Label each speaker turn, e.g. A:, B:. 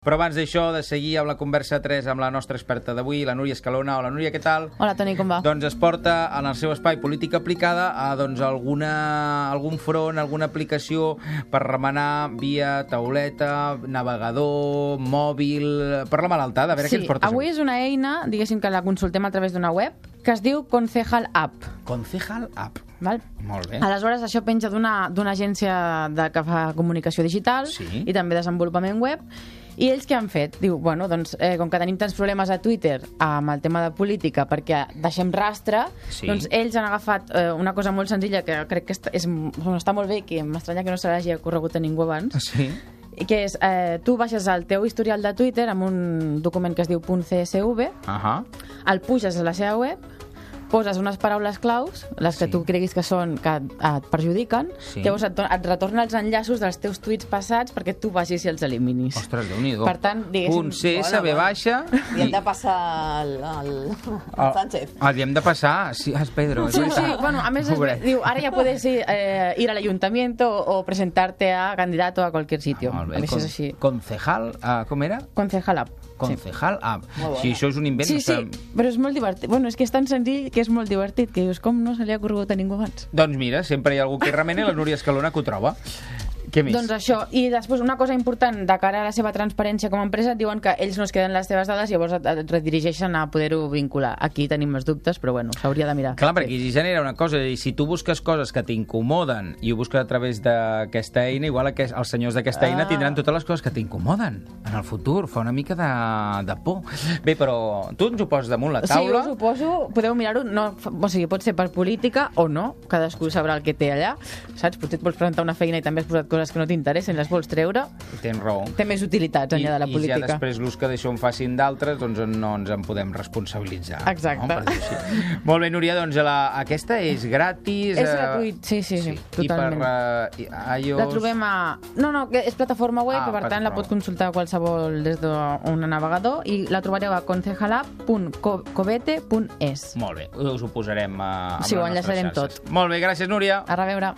A: Però abans d'això, de seguir amb la conversa 3 amb la nostra experta d'avui, la Núria Escalona. Hola, Núria, què tal?
B: Hola, Toni, com va?
A: Doncs es porta en el seu espai política aplicada a doncs, alguna, algun front, alguna aplicació per remenar via tauleta, navegador, mòbil... Per la malaltada, a veure què
B: sí,
A: ens portes
B: avui és una eina, diguéssim que la consultem a través d'una web, que es diu Concejal App.
A: Concejal App.
B: Val?
A: Molt bé.
B: Aleshores, això penja d'una d'una agència de, que fa comunicació digital
A: Sí.
B: i també desenvolupament web. I ells què han fet? Diu, bueno, doncs, eh, com que tenim tants problemes a Twitter amb el tema de política perquè deixem rastre,
A: Sí.
B: doncs ells han agafat eh, una cosa molt senzilla que crec que està, és, està molt bé, que m'estranya que no se l'hagi ocorregut a ningú abans,
A: Sí.
B: que és, eh, tu baixes el teu historial de Twitter amb un document que es diu .csv,
A: Ahà.
B: el puges a la seva web, poses unes paraules claus, les que
A: Sí.
B: tu creguis que són que et- et perjudiquen,
A: Sí.
B: llavors et, don- et retorna els enllaços dels teus tuits passats perquè tu vagis i els eliminis.
A: Ostres, déu-n'hi-do.
B: Per tant, diguéssim,
A: Un CSB
C: hola,
A: baixa...
C: Li hem de passar el, el, el Sánchez.
A: Ah, li hem de passar. Sí, és Pedro, és
B: Sí, sí,
A: veritat.
B: bueno, a més, es,
A: Pobret.
B: diu, ara ja puedes ir, eh, ir al ayuntamiento o presentarte a candidato a cualquier sitio.
A: Ah, Molt bé.
B: a més
A: Con-
B: és així.
A: Concejal, ah, com era?
B: Concejal app. Sí.
A: Concejal app.
C: Molt bona.
A: Si això és un invent...
B: Sí,
A: o
B: sí,
A: sigui,
B: però és molt divertit. Bueno, és que és tan senzill que és molt divertit, que dius, com no se li ha ocorregut a ningú abans?
A: Doncs mira, sempre hi ha algú que hi remena i la Núria Escalona que ho troba. Què més?
B: Doncs això, i després una cosa important de cara a la seva transparència com a empresa, et diuen que ells no es queden les teves dades i llavors et, et redirigeixen a poder-ho vincular. Aquí tenim els dubtes, però bueno, s'hauria de mirar.
A: Clar, perquè hi genera una cosa, i si tu busques coses que t'incomoden i ho busques a través d'aquesta eina, igual aqu- els senyors d'aquesta eina
B: Ah.
A: tindran totes les coses que t'incomoden en el futur. Fa una mica de, de por. Bé, però tu ens ho poses damunt la
B: Sí,
A: taula.
B: us ho poso, podeu mirar-ho, no, fa- o sigui, pot ser per política o no, cadascú sabrà el que té allà, saps? Potser et vols presentar una feina i també has posat coses que no t'interessen, les vols treure,
A: Tens raó.
B: té més utilitats enllà de la
A: I, I ja
B: política.
A: després l'ús que d'això en facin d'altres, doncs no ens en podem responsabilitzar.
B: Exacte.
A: No? Per dir-ho així. Molt bé, Núria, doncs la, aquesta és gratis.
B: És
A: eh,
B: gratuït, sí, sí, sí, totalment.
A: I per uh, iOS...
B: La trobem a... No, no, que és plataforma web,
A: Ah,
B: ah, per tant la
A: plataforma.
B: pot consultar qualsevol des d'un navegador i la trobareu a concejalab.covete.es.
A: Molt bé, us ho posarem eh, a, a
B: Sí, ho enllaçarem
A: xarxes. Molt bé, gràcies, Núria.
B: A reveure.